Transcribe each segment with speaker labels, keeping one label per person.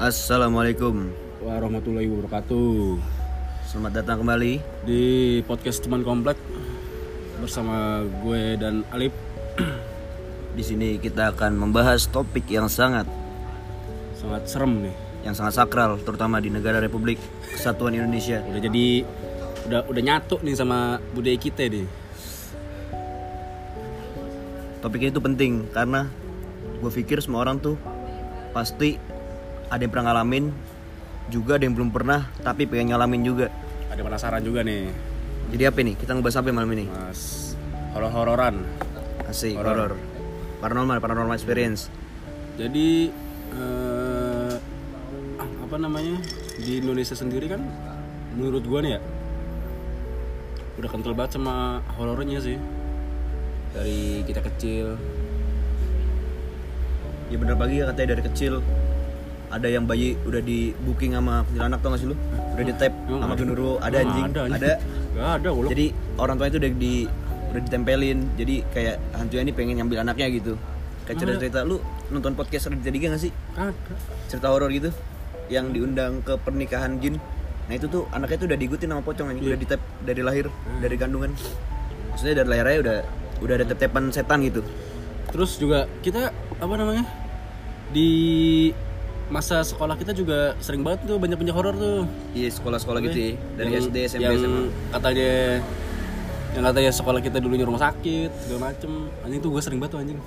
Speaker 1: Assalamualaikum
Speaker 2: warahmatullahi wabarakatuh
Speaker 1: Selamat datang kembali
Speaker 2: di podcast teman komplek bersama gue dan Alip
Speaker 1: Di sini kita akan membahas topik yang sangat
Speaker 2: sangat serem nih
Speaker 1: Yang sangat sakral Terutama di negara Republik Kesatuan Indonesia
Speaker 2: udah jadi udah udah nyatu nih sama budaya kita nih
Speaker 1: Topik ini tuh penting Karena gue pikir semua orang tuh Pasti ada yang pernah ngalamin Juga ada yang belum pernah Tapi pengen ngalamin juga
Speaker 2: ada penasaran juga nih
Speaker 1: Jadi apa nih? Kita ngebahas apa malam ini?
Speaker 2: mas horor-hororan
Speaker 1: Asik,
Speaker 2: Horor.
Speaker 1: horor Paranormal, paranormal experience
Speaker 2: jadi eh, apa namanya di Indonesia sendiri kan menurut gue nih ya udah kental banget sama horornya sih dari kita kecil
Speaker 1: Ya bener pagi ya katanya dari kecil ada yang bayi udah di booking sama kuntilanak tau gak sih lu? Udah di tap
Speaker 2: Emang
Speaker 1: sama
Speaker 2: ada?
Speaker 1: genderuwo, ada
Speaker 2: Emang
Speaker 1: anjing,
Speaker 2: ada,
Speaker 1: ada. Iya.
Speaker 2: anjing. Gak ada golok.
Speaker 1: Jadi orang tua itu udah di udah ditempelin. Jadi kayak hantunya ini pengen nyambil anaknya gitu. Kayak cerita-cerita lu nonton podcast Raditya Dika gak sih?
Speaker 2: Kagak.
Speaker 1: Cerita horor gitu yang
Speaker 2: Hmm.
Speaker 1: diundang ke pernikahan jin. Nah itu tuh anaknya tuh udah diikutin sama pocong
Speaker 2: Iya.
Speaker 1: anjing, udah di tap dari lahir,
Speaker 2: Hmm.
Speaker 1: dari kandungan. Maksudnya dari lahirnya udah udah ada tetepan setan gitu.
Speaker 2: Terus juga kita apa namanya? Di masa sekolah kita juga sering banget tuh banyak banyak horor tuh.
Speaker 1: Di sekolah-sekolah gitu ya, dari
Speaker 2: Iya. Yang-
Speaker 1: SD, SMP,
Speaker 2: yang
Speaker 1: SMA.
Speaker 2: katanya yang katanya sekolah kita dulunya rumah sakit segala macem anjing tuh gue sering banget tuh anjing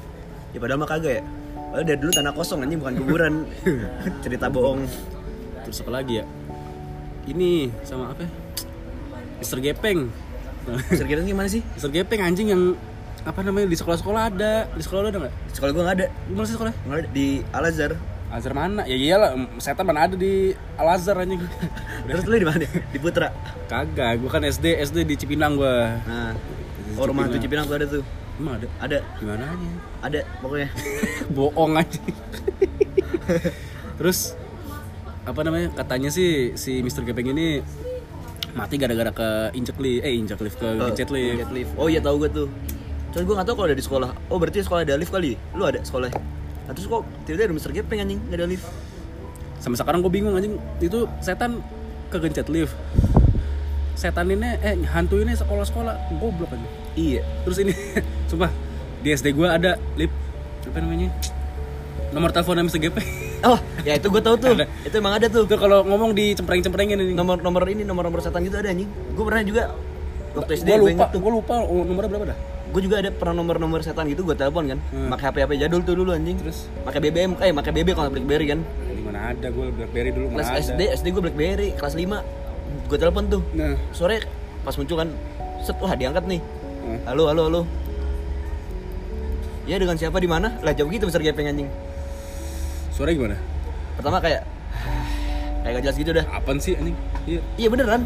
Speaker 1: Ya padahal mah kagak ya. Padahal dari dulu tanah kosong anjing bukan kuburan. Cerita bohong.
Speaker 2: terus apa lagi ya ini sama apa ya? Mister Gepeng
Speaker 1: Mister Gilang gimana sih?
Speaker 2: Mister Gepeng anjing yang apa namanya di sekolah-sekolah ada di sekolah lu ada nggak
Speaker 1: Sekolah gua nggak ada.
Speaker 2: di mana sih sekolah
Speaker 1: Nggak ada di Al Azhar.
Speaker 2: Azhar mana ya iyalah setan mana ada di Al Azhar anjing
Speaker 1: Terus lu di mana? Di Putra.
Speaker 2: Kagak, gua kan SD SD di Cipinang gua.
Speaker 1: Nah. Oh rumah tuh Cipinang tuh ada tuh.
Speaker 2: Emang ada
Speaker 1: Ada,
Speaker 2: gimana aja?
Speaker 1: ada pokoknya.
Speaker 2: Bohong aja. Terus apa namanya? Katanya sih si Mr. Gepeng ini mati gara-gara ke injek lift, eh injek lift ke gencet lift.
Speaker 1: Jet lift. Oh iya tahu gua tuh. Cuman gua nggak tahu kalau ada di sekolah. Oh berarti sekolah ada lift kali. Lu ada sekolah. Nah, terus kok tiba-tiba ada Mister Gepeng anjing nggak ada lift.
Speaker 2: Sampai sekarang gua bingung anjing, itu setan ke gencet lift. Setan ini eh hantu ini sekolah-sekolah goblok aja.
Speaker 1: Iya.
Speaker 2: Terus ini sumpah di SD gua ada lift apa namanya? Nomor teleponnya Mr. Gepeng.
Speaker 1: Oh, ya itu gua tahu tuh.
Speaker 2: Ada.
Speaker 1: Itu emang ada tuh.
Speaker 2: Itu kalau ngomong dicempreng-cemprengin ini.
Speaker 1: Nomor nomor ini nomor-nomor setan gitu ada anjing. Gua pernah juga waktu SD
Speaker 2: Gua
Speaker 1: gua
Speaker 2: lupa,
Speaker 1: inget
Speaker 2: gua lupa oh, nomornya berapa dah?
Speaker 1: gue juga ada pernah nomor-nomor setan gitu gue telepon kan
Speaker 2: Hmm.
Speaker 1: pakai HP HP jadul tuh dulu anjing
Speaker 2: Terus
Speaker 1: pakai BBM eh pakai BB kalau nggak BlackBerry kan
Speaker 2: ini mana ada gua BlackBerry dulu
Speaker 1: kelas
Speaker 2: mana ada.
Speaker 1: SD SD gue BlackBerry kelas 5 gue telepon tuh
Speaker 2: Nah.
Speaker 1: sore pas muncul kan set wah diangkat nih
Speaker 2: Hmm.
Speaker 1: halo halo halo ya dengan siapa di mana lah jauh gitu besar gepeng anjing
Speaker 2: Suara gimana?
Speaker 1: pertama kayak kayak gak jelas gitu dah
Speaker 2: Apaan sih anjing? Iya.
Speaker 1: iya beneran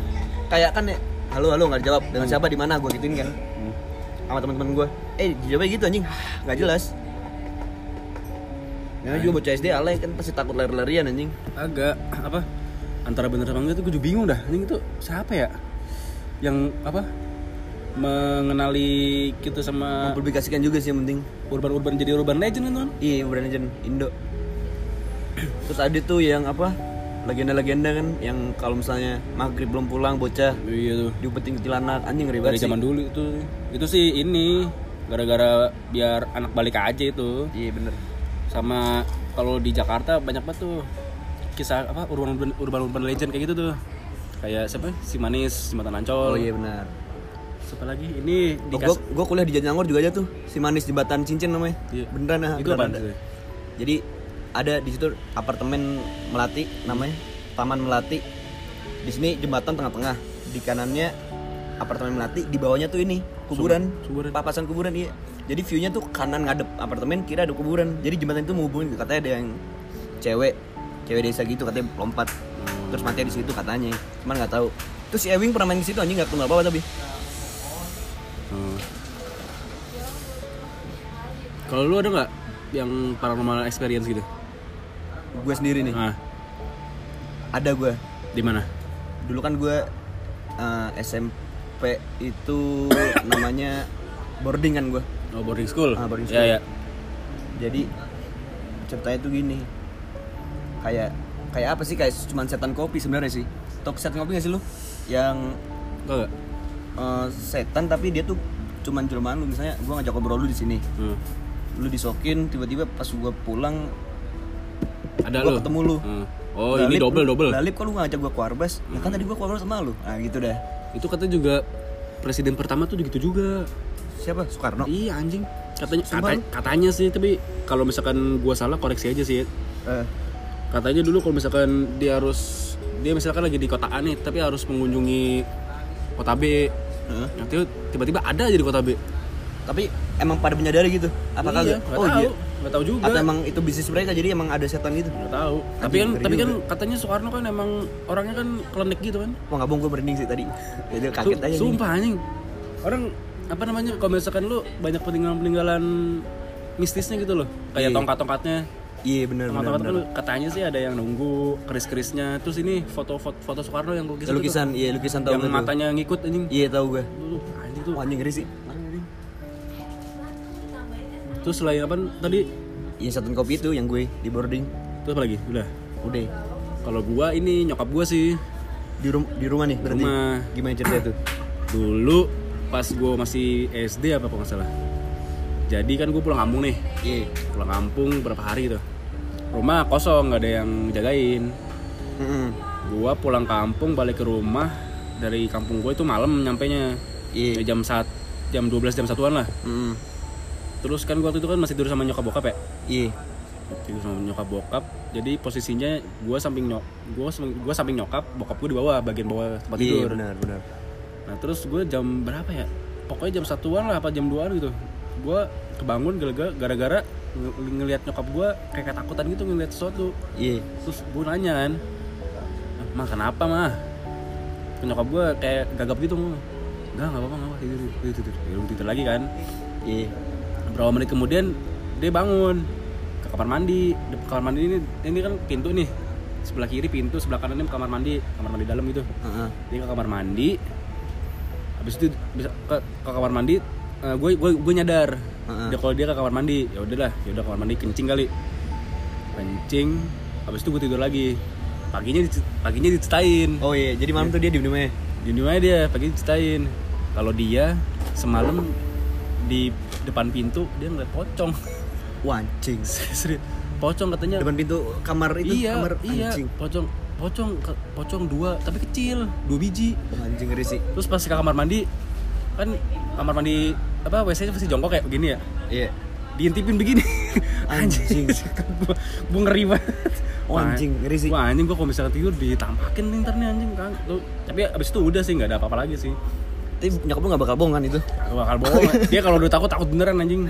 Speaker 1: kayak kan ya halo halo nggak dijawab dengan siapa di mana gue gituin kan
Speaker 2: Hmm.
Speaker 1: sama teman-teman gue eh dijawabnya gitu anjing nggak jelas Ya, Namanya juga bocah SD alay kan pasti takut lari-larian anjing
Speaker 2: Agak apa? Antara bener sama enggak tuh gua juga bingung dah. Anjing itu siapa ya? Yang apa? Mengenali kita sama
Speaker 1: Mempublikasikan juga sih yang penting
Speaker 2: urban-urban jadi urban legend kan teman?
Speaker 1: Iya brand legend Indo Terus ada tuh yang apa Legenda-legenda kan Yang kalau misalnya maghrib belum pulang bocah
Speaker 2: Iya tuh.
Speaker 1: Diupetin kecelanak anjing ngeri
Speaker 2: Dari
Speaker 1: banget sih
Speaker 2: zaman dulu itu. Itu sih ini gara-gara biar anak balik aja itu.
Speaker 1: Iya bener
Speaker 2: sama kalau di Jakarta banyak banget tuh kisah apa urban urban urban, urban legend kayak gitu tuh kayak siapa si manis si mata
Speaker 1: Oh
Speaker 2: ancol
Speaker 1: iya benar.
Speaker 2: siapa lagi ini di
Speaker 1: Gue
Speaker 2: kas-
Speaker 1: gue Oh, kuliah di Jatinangor juga aja tuh si manis di Batan Cincin namanya.
Speaker 2: Iya.
Speaker 1: Beneran ah.
Speaker 2: itu apa
Speaker 1: beneran ada. Jadi ada di situ apartemen Melati namanya, Taman Melati. Di sini jembatan tengah-tengah, di kanannya apartemen Melati, di bawahnya tuh ini kuburan,
Speaker 2: Sumber- sumberan.
Speaker 1: papasan kuburan iya. Jadi view-nya tuh kanan ngadep apartemen, kira ada kuburan. Jadi jembatan itu menghubungin katanya ada yang cewek, cewek desa gitu katanya lompat. Terus mati di situ katanya. Cuman nggak tahu. Terus si Ewing pernah main di situ anjing nggak kenal apa-apa tapi.
Speaker 2: Hmm. kalau lu ada nggak yang paranormal experience gitu
Speaker 1: Gue sendiri nih.
Speaker 2: nah
Speaker 1: Ada gue.
Speaker 2: di mana
Speaker 1: dulu kan gue eh, SMP itu namanya boarding kan gue
Speaker 2: oh boarding school
Speaker 1: Ah, boarding
Speaker 2: ya ya
Speaker 1: jadi ceritanya tuh gini kayak kayak apa sih kayak cuman setan kopi sebenarnya sih top setan kopi gak sih lu yang
Speaker 2: Tau gak?
Speaker 1: eh, setan tapi dia tuh cuman jelmaan lu misalnya gua ngajak ngobrol lu di sini
Speaker 2: Hmm.
Speaker 1: lu disokin tiba-tiba pas gua pulang
Speaker 2: Ada
Speaker 1: Gua
Speaker 2: lu?
Speaker 1: ketemu lu.
Speaker 2: Hmm. Oh ini
Speaker 1: Lalip,
Speaker 2: double
Speaker 1: lu-
Speaker 2: double. Hmm.
Speaker 1: Lalip kok lu ngajak gua kuarbas ya kan tadi gua kuarbas sama lu nah gitu dah
Speaker 2: Itu katanya juga presiden pertama tuh gitu juga.
Speaker 1: siapa Soekarno
Speaker 2: Iya anjing. Katanya
Speaker 1: Sumpah
Speaker 2: kata- katanya sih tapi kalau misalkan gua salah koreksi aja sih. ya.
Speaker 1: Eh,
Speaker 2: Katanya dulu kalau misalkan dia harus dia misalkan lagi di kota A nih tapi harus mengunjungi kota B.
Speaker 1: Heeh.
Speaker 2: Nanti tiba-tiba ada aja di kota B.
Speaker 1: tapi emang pada menyadari gitu apa kagak
Speaker 2: iya, nggak
Speaker 1: oh
Speaker 2: tahu,
Speaker 1: iya
Speaker 2: nggak tahu juga.
Speaker 1: atau emang itu bisnis mereka jadi emang ada setan gitu
Speaker 2: Nggak tahu. Tapi kan
Speaker 1: ngeri
Speaker 2: tapi kan
Speaker 1: juga.
Speaker 2: katanya Soekarno kan emang orangnya kan klenik gitu kan.
Speaker 1: mau ngabung gue merinding sih tadi jadi kaget
Speaker 2: Su-
Speaker 1: aja nih.
Speaker 2: Sumpah anjing. Orang apa namanya kalau misalkan lu banyak peninggalan-peninggalan mistisnya gitu loh.
Speaker 1: Iya.
Speaker 2: Kayak tongkat-tongkatnya.
Speaker 1: iya benar benar
Speaker 2: Tongkat-tongkat kan lu- katanya sih ada yang nunggu keris-kerisnya. Terus ini foto-foto foto Soekarno yang
Speaker 1: Ya,
Speaker 2: lukisan itu.
Speaker 1: lukisan iya lukisan tahu
Speaker 2: gitu. yang
Speaker 1: gue tuh.
Speaker 2: matanya ngikut anjing.
Speaker 1: iya tahu gue
Speaker 2: Lu, Anjing tuh.
Speaker 1: wah anjing ngeri sih
Speaker 2: Terus selain apa tadi?
Speaker 1: iya setan kopi itu yang gue di boarding
Speaker 2: Terus apa lagi? Udah.
Speaker 1: udah
Speaker 2: Kalau gua ini nyokap gua sih
Speaker 1: di rum- di rumah nih berarti
Speaker 2: Rumah.
Speaker 1: gimana cerita tuh
Speaker 2: dulu pas gua masih SD apa kalau nggak salah. Jadi kan gua pulang kampung nih.
Speaker 1: iya
Speaker 2: pulang kampung berapa hari gitu rumah kosong nggak ada yang jagain
Speaker 1: Mm-mm.
Speaker 2: gua pulang kampung balik ke rumah dari kampung gua itu malam nyampainya
Speaker 1: iya
Speaker 2: Ya, jam saat jam 12 jam satuan lah
Speaker 1: Mm-mm.
Speaker 2: terus kan gua waktu itu kan masih tidur sama nyokap bokap ya
Speaker 1: iya
Speaker 2: tidur sama nyokap bokap jadi posisinya gua samping nyok gua samping, gua samping nyokap bokap gua di bawah bagian bawah tempat
Speaker 1: iya
Speaker 2: tidur
Speaker 1: benar benar
Speaker 2: nah terus gua jam berapa ya pokoknya jam satuan lah apa jam 2an gitu gua kebangun gara-gara gara-gara ng- ngelihat nyokap gua kayak ketakutan gitu ngelihat sesuatu
Speaker 1: iya
Speaker 2: terus gue nanya kan mah kenapa mah nyokap gue kayak gagap gitu mah enggak nggak apa-apa nggak apa tidur tidur tidur tidur, tidur lagi kan
Speaker 1: iya
Speaker 2: berapa menit kemudian dia bangun ke kamar mandi di kamar mandi ini ini kan pintu nih sebelah kiri pintu sebelah kanannya kamar mandi kamar mandi dalam gitu
Speaker 1: Heeh.
Speaker 2: dia ke kamar mandi habis itu bisa ke, ke kamar mandi eh, gue gue gue nyadar
Speaker 1: Heeh.
Speaker 2: dia kalau dia ke kamar mandi ya udahlah ya udah kamar mandi kencing kali kencing habis itu gue tidur lagi paginya dice- paginya diceritain
Speaker 1: oh iya jadi malam tuh dia di rumahnya
Speaker 2: di rumah dia pagi diceritain kalau dia semalam di depan pintu dia ngeliat pocong
Speaker 1: wah anjing
Speaker 2: Serius. pocong katanya
Speaker 1: depan pintu kamar itu
Speaker 2: iya
Speaker 1: kamar
Speaker 2: iya
Speaker 1: anjing
Speaker 2: pocong pocong ke- pocong dua tapi kecil dua biji
Speaker 1: Wah, anjing ngeri sih
Speaker 2: terus pas ke kamar mandi kan kamar mandi apa wc nya pasti jongkok kayak begini ya
Speaker 1: iya
Speaker 2: diintipin begini
Speaker 1: Anjing.
Speaker 2: gua, gua ngeri banget
Speaker 1: Oh, anjing, ngeri sih.
Speaker 2: wah anjing gua kalau misalnya tidur ditampakin nih ntar nih anjing kan Tuh, tapi abis itu udah sih nggak ada apa-apa lagi sih
Speaker 1: tapi nyokap lu gak bakal bohong kan itu
Speaker 2: Gua bakal bohong dia kalau udah takut takut beneran anjing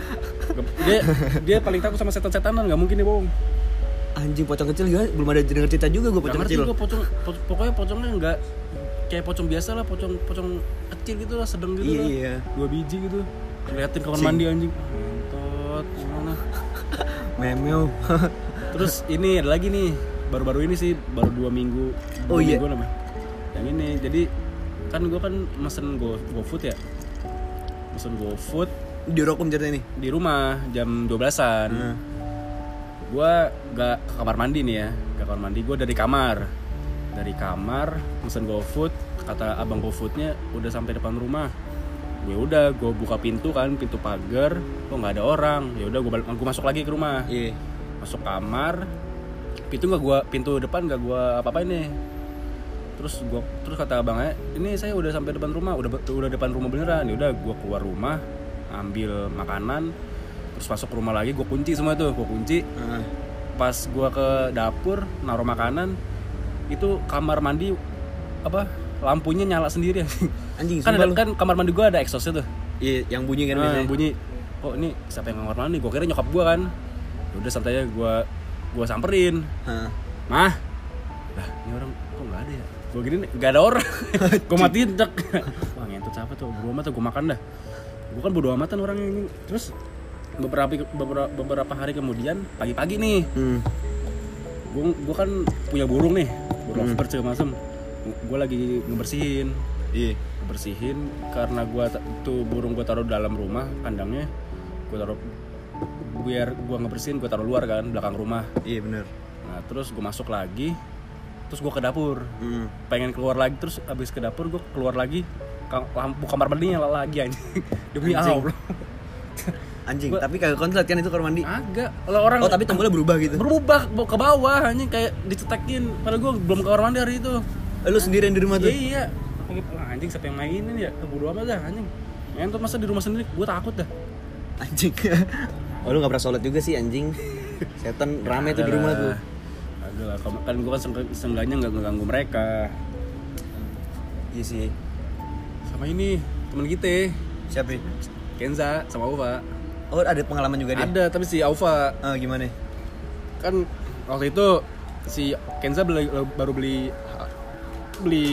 Speaker 2: dia dia paling takut sama setan-setanan nggak mungkin dia bohong
Speaker 1: anjing pocong kecil juga belum ada denger cerita juga gue
Speaker 2: Nggak
Speaker 1: pocong
Speaker 2: ngerti
Speaker 1: kecil
Speaker 2: gua pocong po- pokoknya pocongnya nggak kayak pocong biasa lah pocong pocong kecil gitu lah sedang gitu
Speaker 1: iya
Speaker 2: lah
Speaker 1: iya
Speaker 2: dua biji gitu ngeliatin kamar
Speaker 1: Anjing.
Speaker 2: mandi anjing Entot, gimana
Speaker 1: memeo
Speaker 2: terus ini ada lagi nih baru-baru ini sih baru dua minggu dua
Speaker 1: Oh, iya.
Speaker 2: mingguan apa? yang ini jadi kan gue kan mesen go gofood ya mesen gofood
Speaker 1: di rokum cerita ini
Speaker 2: di rumah jam 12-an
Speaker 1: Hmm.
Speaker 2: gue gak ke kamar mandi nih ya ke kamar mandi gue dari kamar dari kamar mesen GoFood kata abang GoFoodnya udah sampai depan rumah ya udah gue buka pintu kan pintu pagar kok nggak ada orang ya udah gue masuk lagi ke rumah
Speaker 1: iya
Speaker 2: masuk kamar pintu nggak gua pintu depan nggak gua apa apa ini terus gua terus kata abangnya ini saya udah sampai depan rumah udah be- udah depan rumah beneran ya udah gua keluar rumah ambil makanan terus masuk ke rumah lagi gua kunci semua tuh gua kunci
Speaker 1: Heeh.
Speaker 2: pas gua ke dapur naruh makanan itu kamar mandi apa lampunya nyala sendiri
Speaker 1: anjing
Speaker 2: kan
Speaker 1: sumpah
Speaker 2: ada,
Speaker 1: lu
Speaker 2: kan kamar mandi gua ada exhaustnya tuh
Speaker 1: iya yang bunyi kan
Speaker 2: Nah,
Speaker 1: biasanya
Speaker 2: bunyi kok ini siapa yang ngamar mandi gue kira nyokap gue kan Ya udah santai aja gue gue samperin
Speaker 1: Heeh.
Speaker 2: mah lah ini orang kok nggak ada ya gue gini nggak ada orang gue matiin cek wah ngentut siapa tuh bodo amat gue makan dah gue kan bodo amatan orang ini terus beberapa beberapa, beberapa hari kemudian pagi-pagi nih
Speaker 1: hmm.
Speaker 2: gue gue kan punya burung nih
Speaker 1: Hmm.
Speaker 2: burung lovebird segala macam gue lagi ngebersihin
Speaker 1: iya
Speaker 2: bersihin karena gua ta- tuh burung gua taruh dalam rumah kandangnya gua taruh biar gua ngebersihin gua taruh luar kan belakang rumah
Speaker 1: iya benar
Speaker 2: Nah terus gue masuk lagi, terus gue ke dapur,
Speaker 1: Hmm.
Speaker 2: pengen keluar lagi terus abis ke dapur gue keluar lagi ka- lampu kamar mandinya lah lagi anjing demi
Speaker 1: Anjing.
Speaker 2: Allah
Speaker 1: Anjing, tapi kagak konslet kan itu kamar mandi.
Speaker 2: agak kalau orang
Speaker 1: Oh, tapi tombolnya berubah gitu.
Speaker 2: berubah bawa ke bawah anjing kayak dicetekin padahal gue belum ke kamar mandi hari itu
Speaker 1: Eh, Lu sendirian di rumah
Speaker 2: iya
Speaker 1: tuh.
Speaker 2: iya Wah, anjing siapa yang mainin ya keburu apa dah anjing main tuh masa di rumah sendiri gue takut dah
Speaker 1: Anjing. Oh, lu gak pernah sholat juga sih anjing. Setan rame tuh di rumah tuh.
Speaker 2: agak lah kalau- kan gue kan sengga- seenggaknya nggak ngeganggu mereka
Speaker 1: Iya sih.
Speaker 2: sama ini teman kita
Speaker 1: Siapa? ya?
Speaker 2: Kenza sama Ufa
Speaker 1: Oh, ada pengalaman juga dia.
Speaker 2: ada tapi si Aufa
Speaker 1: Ah, gimana?
Speaker 2: kan waktu itu si Kenza beli- baru beli beli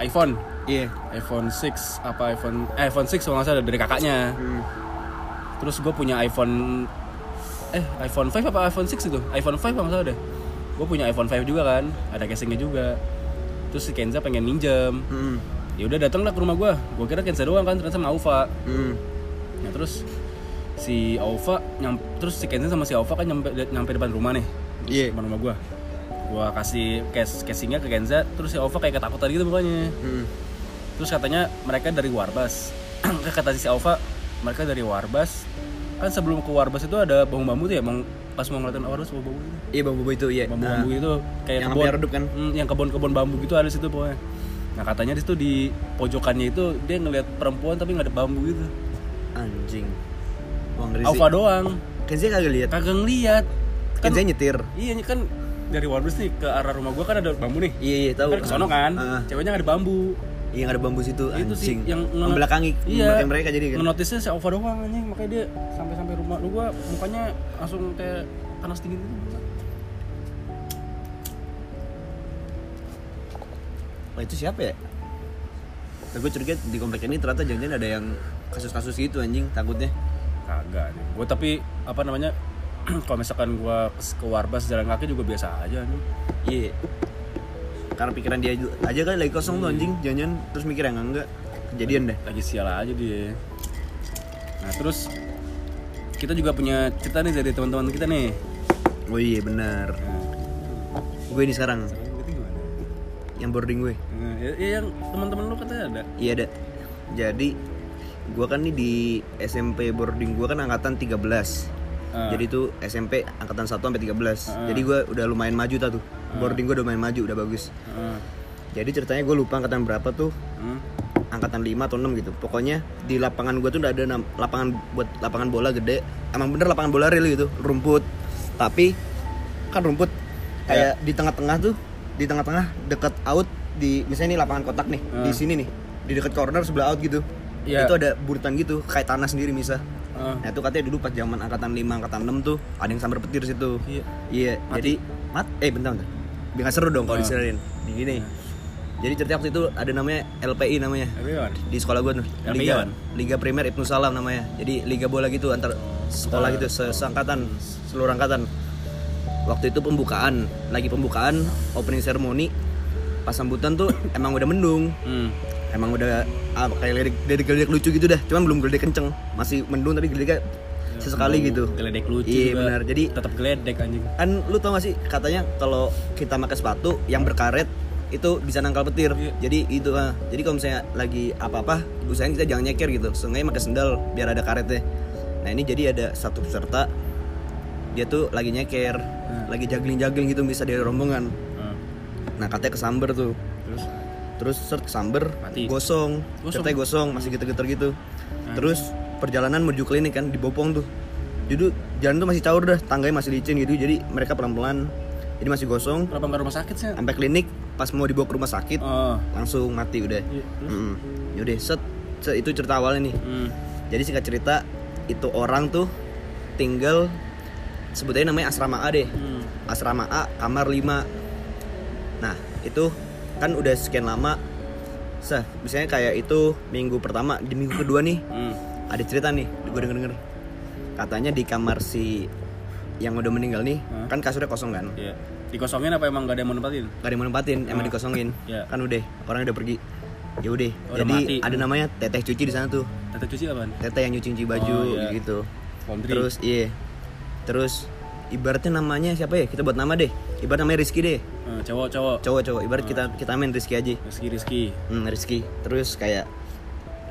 Speaker 2: iPhone
Speaker 1: Iya.
Speaker 2: iPhone 6 apa iPhone eh, iPhone 6 kalau nggak salah dari kakaknya
Speaker 1: Hmm.
Speaker 2: terus gue punya iPhone eh iPhone 5 apa iPhone 6 itu iPhone 5 kalau nggak salah deh gue punya iPhone 5 juga kan ada casingnya juga terus si Kenza pengen minjem
Speaker 1: Hmm.
Speaker 2: ya udah datanglah ke rumah gue gue kira Kenza doang kan ternyata sama Aufa
Speaker 1: Hmm.
Speaker 2: Nah terus si Alfa nyam, terus si Kenzen sama si Alfa kan nyampe nyampe depan rumah nih.
Speaker 1: Iya.
Speaker 2: Depan rumah gua. Gua kasih case casingnya ke Kenza, terus si Alfa kayak ketakutan gitu mukanya.
Speaker 1: Hmm.
Speaker 2: Terus katanya mereka dari Warbas. Kata si Alfa, mereka dari Warbas. Kan sebelum ke Warbas itu ada bambu-bambu tuh ya, mau pas mau ngeliatin Warbas bambu-bambu itu.
Speaker 1: Iya, Bang Bobo itu iya.
Speaker 2: Bambu-bambu itu kayak
Speaker 1: yang
Speaker 2: kebun
Speaker 1: sampai redup kan?
Speaker 2: Hmm, yang kebun-kebun bambu gitu ada di situ pokoknya. Nah katanya di situ di pojokannya itu dia ngeliat perempuan tapi nggak ada bambu gitu.
Speaker 1: Ah, Anjing. Wah, ngeri sih.
Speaker 2: Alfa doang.
Speaker 1: Kenzi kagak lihat.
Speaker 2: kagak ngeliat kan
Speaker 1: Kenzi nyetir.
Speaker 2: iya kan dari Warbus nih ke arah rumah gua kan ada bambu nih
Speaker 1: Iya, iya, tahu.
Speaker 2: kan ke sono kan
Speaker 1: Ah, ah.
Speaker 2: ceweknya nggak ada bambu
Speaker 1: Iya, nggak ada bambu situ
Speaker 2: itu sih
Speaker 1: anjing.
Speaker 2: yang nge-
Speaker 1: membelakangi
Speaker 2: iya
Speaker 1: membelakangi mereka jadi kan.
Speaker 2: ngenotisnya si Alfa doang anjing makanya dia sampai sampai rumah lu gua mukanya langsung kayak panas dingin gitu
Speaker 1: Wah, itu siapa ya? Tapi gue curiga di komplek ini ternyata jangan-jangan ada yang kasus-kasus gitu anjing takutnya.
Speaker 2: kagak anjing. gua tapi apa namanya kalau misalkan gua kes- ke Warbas jalan kaki juga biasa aja anjing
Speaker 1: Iya. Karena pikiran dia ju- aja kan lagi kosong
Speaker 2: Hmm.
Speaker 1: tuh anjing, jangan-jangan terus mikir yang enggak kejadian deh.
Speaker 2: lagi sial aja dia nah terus kita juga punya cerita nih dari teman-teman kita nih Nah,
Speaker 1: Oh iya benar. Gue ini sekarang yang boarding gue.
Speaker 2: Nah, ya, ya yang teman-teman lu katanya ada.
Speaker 1: Iya ada. Jadi gue kan nih di SMP boarding gue kan angkatan 13.
Speaker 2: Ah.
Speaker 1: Jadi itu SMP angkatan 1 sampai 13.
Speaker 2: Ah.
Speaker 1: Jadi gue udah lumayan maju tau tuh. Boarding gue udah lumayan maju, udah bagus.
Speaker 2: Heeh.
Speaker 1: Jadi ceritanya gue lupa angkatan berapa tuh
Speaker 2: Hmm.
Speaker 1: angkatan 5 atau 6 gitu pokoknya di lapangan gue tuh udah ada nam- lapangan buat lapangan bola gede emang bener lapangan bola real gitu rumput tapi kan rumput kayak di tengah-tengah tuh di tengah-tengah deket out di misalnya ini lapangan kotak nih di sini nih di deket corner sebelah out gitu
Speaker 2: Iya.
Speaker 1: itu ada buritan gitu kayak tanah sendiri misah
Speaker 2: Ah,
Speaker 1: nah itu katanya dulu pas zaman angkatan 5 angkatan 6 tuh ada yang sambar petir situ
Speaker 2: iya.
Speaker 1: Iya, jadi mat eh bentar bentar. Biar nggak seru dong kalau diserahin. Di gini. Jadi cerita waktu itu ada namanya LPI namanya.
Speaker 2: Everyone.
Speaker 1: Di sekolah gue tuh,
Speaker 2: LPI
Speaker 1: Liga
Speaker 2: apaan?
Speaker 1: Liga Primer Ibnu Salam namanya. Jadi liga bola gitu antar sekolah gitu, se- seangkatan, seluruh angkatan. Waktu itu pembukaan, lagi pembukaan opening ceremony. Pas sambutan tuh emang udah mendung.
Speaker 2: Hmm.
Speaker 1: Emang udah ah, kayak geledek geledek lucu gitu dah. Cuman belum geledek kenceng, masih mendung tapi geledek sesekali gitu.
Speaker 2: Geledek Ya, lucu.
Speaker 1: Iya
Speaker 2: juga.
Speaker 1: benar. Jadi
Speaker 2: tetap geledek anjing.
Speaker 1: kan lu tau gak sih katanya kalau kita pakai sepatu yang berkaret itu bisa nangkal petir
Speaker 2: Iya.
Speaker 1: jadi itu ah. jadi kalau misalnya lagi apa apa usahain kita jangan nyeker gitu sengaja pakai sendal biar ada karetnya nah ini jadi ada satu peserta dia tuh lagi nyeker
Speaker 2: Nah.
Speaker 1: lagi jagling jagling gitu bisa dari rombongan
Speaker 2: Ah,
Speaker 1: nah katanya kesamber tuh
Speaker 2: Terus
Speaker 1: terus seret kesamber
Speaker 2: Mati.
Speaker 1: gosong
Speaker 2: Gosong.
Speaker 1: ceritanya gosong masih geter-geter gitu terus perjalanan menuju klinik kan di Bopong tuh jadi jalan tuh masih caur dah tangganya masih licin gitu jadi mereka pelan-pelan jadi masih gosong
Speaker 2: kenapa nggak rumah sakit sih?
Speaker 1: sampai klinik pas mau dibawa ke rumah sakit
Speaker 2: Oh.
Speaker 1: langsung mati udah
Speaker 2: Iya. Terus.
Speaker 1: Mm-mm. yaudah set, set itu cerita awalnya nih
Speaker 2: Hmm.
Speaker 1: jadi singkat cerita itu orang tuh tinggal sebutnya namanya asrama A deh
Speaker 2: Hmm.
Speaker 1: asrama A kamar 5 nah itu kan udah sekian lama sah misalnya kayak itu minggu pertama di minggu kedua nih
Speaker 2: Hmm.
Speaker 1: ada cerita nih gue denger denger katanya di kamar si yang udah meninggal nih
Speaker 2: Hah?
Speaker 1: kan kasurnya kosong kan
Speaker 2: Iya. Dikosongin apa emang gak ada yang mau nempatin?
Speaker 1: gak ada yang mau nempatin emang dikosongin
Speaker 2: Iya.
Speaker 1: kan udah orangnya udah pergi ya udah
Speaker 2: Udah
Speaker 1: jadi
Speaker 2: mati.
Speaker 1: ada namanya teteh cuci di sana tuh
Speaker 2: Tata cuci apaan? ya.
Speaker 1: teteh yang nyuci nyuci baju
Speaker 2: Oh, iya.
Speaker 1: gitu
Speaker 2: Laundry.
Speaker 1: terus iya terus ibaratnya namanya siapa ya? Kita buat nama deh. Ibarat namanya Rizky deh.
Speaker 2: Eh, cowok-cowok
Speaker 1: Cowok-cowok ibarat kita kita main Rizky aja.
Speaker 2: Rizky Rizky
Speaker 1: Hmm, Rizky. Terus kayak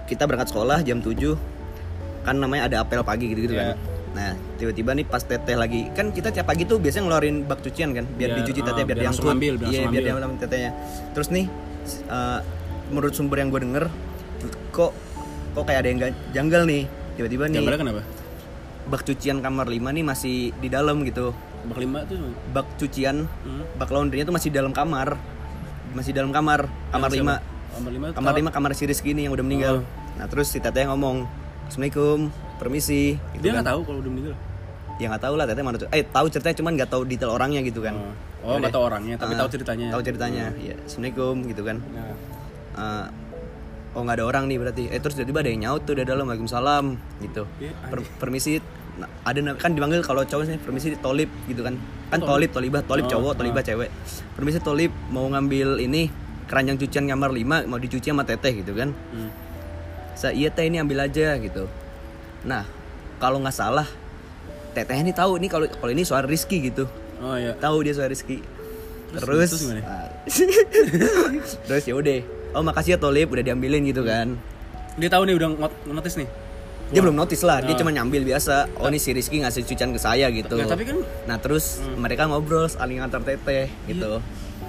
Speaker 1: kita berangkat sekolah jam 7 kan namanya ada apel pagi gitu-gitu kan.
Speaker 2: Iya.
Speaker 1: Nah, tiba-tiba nih pas teteh lagi kan kita tiap pagi tuh biasanya ngeluarin bak cucian kan biar,
Speaker 2: Biar,
Speaker 1: dicuci
Speaker 2: ah,
Speaker 1: teteh biar,
Speaker 2: biar
Speaker 1: diangkut.
Speaker 2: langsung ambil,
Speaker 1: Iya,
Speaker 2: biar langsung
Speaker 1: biar
Speaker 2: ambil.
Speaker 1: diambil sama tetehnya. Terus nih s- eh, menurut sumber yang gue denger kok kok kayak ada yang ga- janggal nih. Tiba-tiba nih
Speaker 2: Gambarnya kenapa?
Speaker 1: bak cucian kamar 5 nih masih di dalam gitu.
Speaker 2: Bak lima tuh
Speaker 1: Bak cucian,
Speaker 2: Hmm.
Speaker 1: bak laundrynya tuh masih di dalam kamar. Masih di dalam kamar, kamar
Speaker 2: siapa?
Speaker 1: 5
Speaker 2: Kamar lima tuh
Speaker 1: kamar lima kamar si Rizky ini yang udah meninggal
Speaker 2: Oh.
Speaker 1: nah terus si teteh ngomong assalamualaikum permisi
Speaker 2: tahu-
Speaker 1: gitu
Speaker 2: Dia
Speaker 1: kan
Speaker 2: nggak tahu kalau udah meninggal
Speaker 1: ya nggak tahu lah teteh mana tuh eh tahu ceritanya cuman nggak tahu detail orangnya gitu kan
Speaker 2: Oh nggak tahu orangnya tapi
Speaker 1: Ah,
Speaker 2: tahu ceritanya Hmm.
Speaker 1: tahu ceritanya ya assalamualaikum gitu kan
Speaker 2: Nah
Speaker 1: Eh, oh nggak ada orang nih berarti eh terus tiba-tiba ada yang nyaut tuh dari dalam waalaikumsalam gitu
Speaker 2: Iya,
Speaker 1: Per- permisi Nah, ada na- kan dipanggil kalau cowok sih permisi tolip gitu kan kan tolip tolibah tolip cowok tolibah cewek permisi tolip mau ngambil ini keranjang cucian kamar 5 mau dicuci sama teteh gitu kan
Speaker 2: Hmm.
Speaker 1: saya iya teh ini ambil aja gitu nah kalau nggak salah teteh ini tahu nih kalau kalau ini soal Rizky gitu
Speaker 2: Oh iya
Speaker 1: tahu dia soal Rizky
Speaker 2: terus
Speaker 1: terus
Speaker 2: gimana?
Speaker 1: ah, terus ya udah oh makasih ya Tolip udah diambilin
Speaker 2: Iya.
Speaker 1: gitu kan
Speaker 2: Dia tahu nih udah ngot- notice nih
Speaker 1: dia belum notice lah dia cuma nyambil biasa oh ini si Rizky ngasih cucian ke saya gitu
Speaker 2: Ah. Nah, tapi kan Hmm. Iya.
Speaker 1: nah terus mereka ngobrol saling antar teteh gitu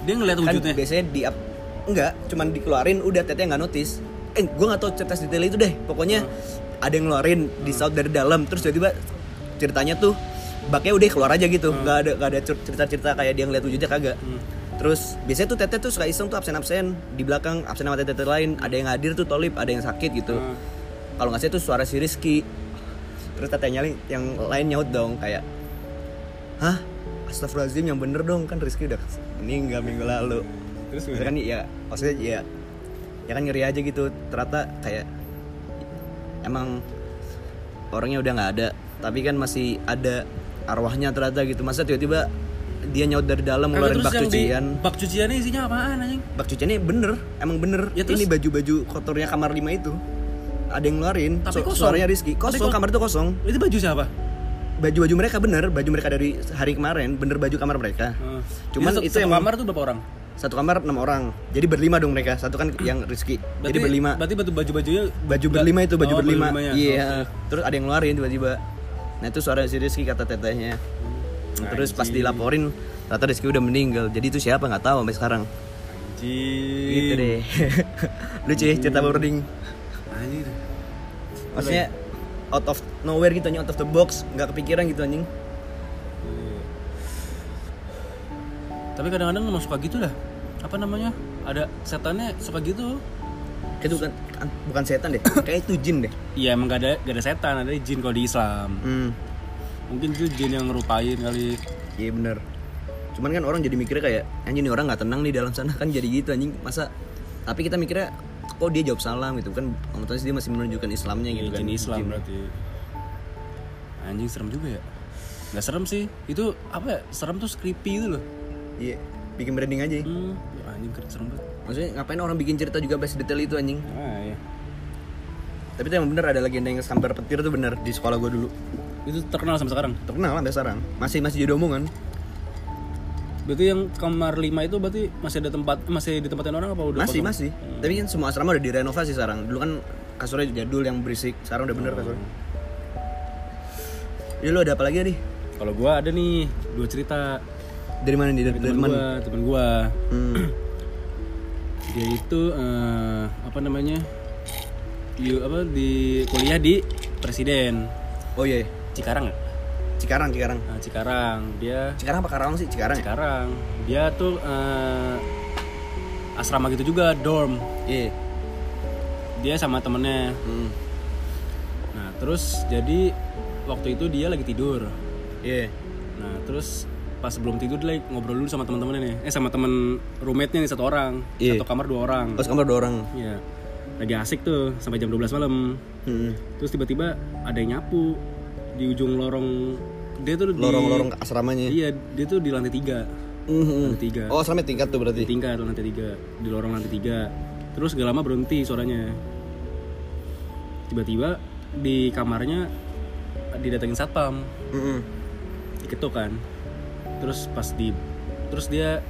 Speaker 2: dia ngeliat
Speaker 1: kan
Speaker 2: wujudnya
Speaker 1: biasanya di up- enggak cuman dikeluarin udah teteh nggak notice eh gue nggak tahu cerita detail itu deh pokoknya
Speaker 2: Hmm.
Speaker 1: ada yang ngeluarin di sound dari dalam terus tiba-tiba ceritanya tuh baknya udah keluar aja gitu
Speaker 2: Hmm.
Speaker 1: nggak ada nggak ada cer- cerita-cerita kayak dia ngeliat wujudnya kagak terus biasanya tuh teteh tuh suka iseng tuh absen absen di belakang absen sama teteh lain ada yang hadir tuh tolip ada yang sakit gitu
Speaker 2: Hmm.
Speaker 1: kalau nggak sih tuh suara si Rizky terus teteh nyali yang lain nyaut dong kayak hah Astagfirullahaladzim yang bener dong kan Rizky udah meninggal minggu lalu
Speaker 2: Terus
Speaker 1: Terus
Speaker 2: gimana?
Speaker 1: kan ya maksudnya ya ya kan ngeri aja gitu ternyata kayak emang orangnya udah nggak ada tapi kan masih ada arwahnya ternyata gitu masa tiba-tiba dia nyaut dari dalam
Speaker 2: Kagak,
Speaker 1: ngeluarin
Speaker 2: terus
Speaker 1: bak
Speaker 2: yang di-
Speaker 1: cucian
Speaker 2: Bak cuciannya isinya apaan anjing?
Speaker 1: bak cuciannya bener emang bener
Speaker 2: Ya, terus?
Speaker 1: ini baju-baju kotornya kamar lima itu ada yang ngeluarin
Speaker 2: Tapi kosong.
Speaker 1: suaranya Rizky
Speaker 2: Tapi
Speaker 1: kosong
Speaker 2: kos-
Speaker 1: kamar itu kosong
Speaker 2: Itu baju siapa?
Speaker 1: baju-baju mereka bener baju mereka dari hari kemarin bener baju kamar mereka
Speaker 2: Hmm.
Speaker 1: Cuman
Speaker 2: Jadi satu-
Speaker 1: itu
Speaker 2: satu
Speaker 1: emang-
Speaker 2: kamar tuh berapa orang?
Speaker 1: satu kamar enam orang jadi berlima dong mereka satu kan yang Rizky jadi berlima
Speaker 2: Berarti batu baju-bajunya
Speaker 1: baju
Speaker 2: Ba-
Speaker 1: berlima itu baju
Speaker 2: oh,
Speaker 1: berlima
Speaker 2: berlimanya.
Speaker 1: iya terus ada yang ngeluarin tiba-tiba nah itu suara si Rizky kata tetehnya Nah, terus pas dilaporin ternyata Rizky udah meninggal jadi itu siapa nggak tahu sampai sekarang
Speaker 2: Oh, Anjing.
Speaker 1: gitu deh lucu ya cerita boarding
Speaker 2: Anjing.
Speaker 1: maksudnya out of nowhere gitu anjing out of the box nggak kepikiran gitu anjing
Speaker 2: Tapi kadang-kadang emang suka gitu lah. Apa namanya? Ada setannya suka gitu.
Speaker 1: itu bukan bukan setan deh kayak itu jin deh
Speaker 2: Iya emang gak ada gak ada setan, ada jin kalau di Islam.
Speaker 1: hmm
Speaker 2: Mungkin itu jin yang ngerupain kali.
Speaker 1: iya bener cuman kan orang jadi mikirnya kayak anjing nih orang nggak tenang nih dalam sana kan jadi gitu anjing masa tapi kita mikirnya kok dia jawab salam gitu kan otomatis dia masih menunjukkan Islamnya
Speaker 2: Iya,
Speaker 1: gitu kan
Speaker 2: jin Islam berarti. Anjing serem juga ya. Gak serem sih. Itu apa ya? Serem tuh creepy itu loh.
Speaker 1: Iya, bikin branding aja. ya.
Speaker 2: Hmm, ya anjing keren serem banget.
Speaker 1: Maksudnya ngapain orang bikin cerita juga bahas detail itu anjing?
Speaker 2: Ah, iya.
Speaker 1: Tapi itu emang bener ada legenda yang sambar petir tuh bener di sekolah gue dulu.
Speaker 2: Itu terkenal sampai sekarang.
Speaker 1: Terkenal lah sampai sekarang. Masih masih jadi omongan.
Speaker 2: Berarti yang kamar 5 itu berarti masih ada tempat masih ditempatin orang apa udah
Speaker 1: Masih
Speaker 2: kosong?
Speaker 1: masih. Tapi kan semua asrama udah direnovasi sekarang. Dulu kan kasurnya jadul yang berisik. Sekarang udah bener kasurnya. Ya lu ada apa lagi nih?
Speaker 2: Kalau gua ada nih dua cerita
Speaker 1: Dari mana nih? Dari, dari mana?
Speaker 2: teman gua, teman gua.
Speaker 1: Hmm.
Speaker 2: Dia itu eh, apa namanya? Di, apa di kuliah di Presiden
Speaker 1: Oh iya, iya.
Speaker 2: Cikarang nggak?
Speaker 1: Cikarang, Cikarang.
Speaker 2: Nah, Cikarang dia
Speaker 1: Cikarang apa Karawang sih? Cikarang ya?
Speaker 2: Cikarang dia tuh eh, asrama gitu juga dorm
Speaker 1: Iya.
Speaker 2: dia sama temennya
Speaker 1: Hmm.
Speaker 2: nah terus jadi waktu itu dia lagi tidur
Speaker 1: Iya.
Speaker 2: Nah terus pas sebelum tidur dia lagi ngobrol dulu sama teman-temannya nih. Eh sama temen roommate-nya nih satu orang,
Speaker 1: Iya.
Speaker 2: satu kamar dua orang.
Speaker 1: Pas kamar dua orang.
Speaker 2: Iya. Lagi asik tuh sampai jam 12 malam.
Speaker 1: Hmm.
Speaker 2: Terus tiba-tiba ada yang nyapu di ujung lorong dia tuh di
Speaker 1: Lorong-lorong ke asramanya.
Speaker 2: Iya, dia tuh di lantai tiga,
Speaker 1: Hmm.
Speaker 2: lantai tiga,
Speaker 1: Oh, asramanya tingkat tuh berarti.
Speaker 2: tingkat lantai tiga, di lorong lantai tiga. Terus gak lama berhenti suaranya. Tiba-tiba di kamarnya didatengin satpam.
Speaker 1: Hmm.
Speaker 2: diketuk kan terus pas di terus dia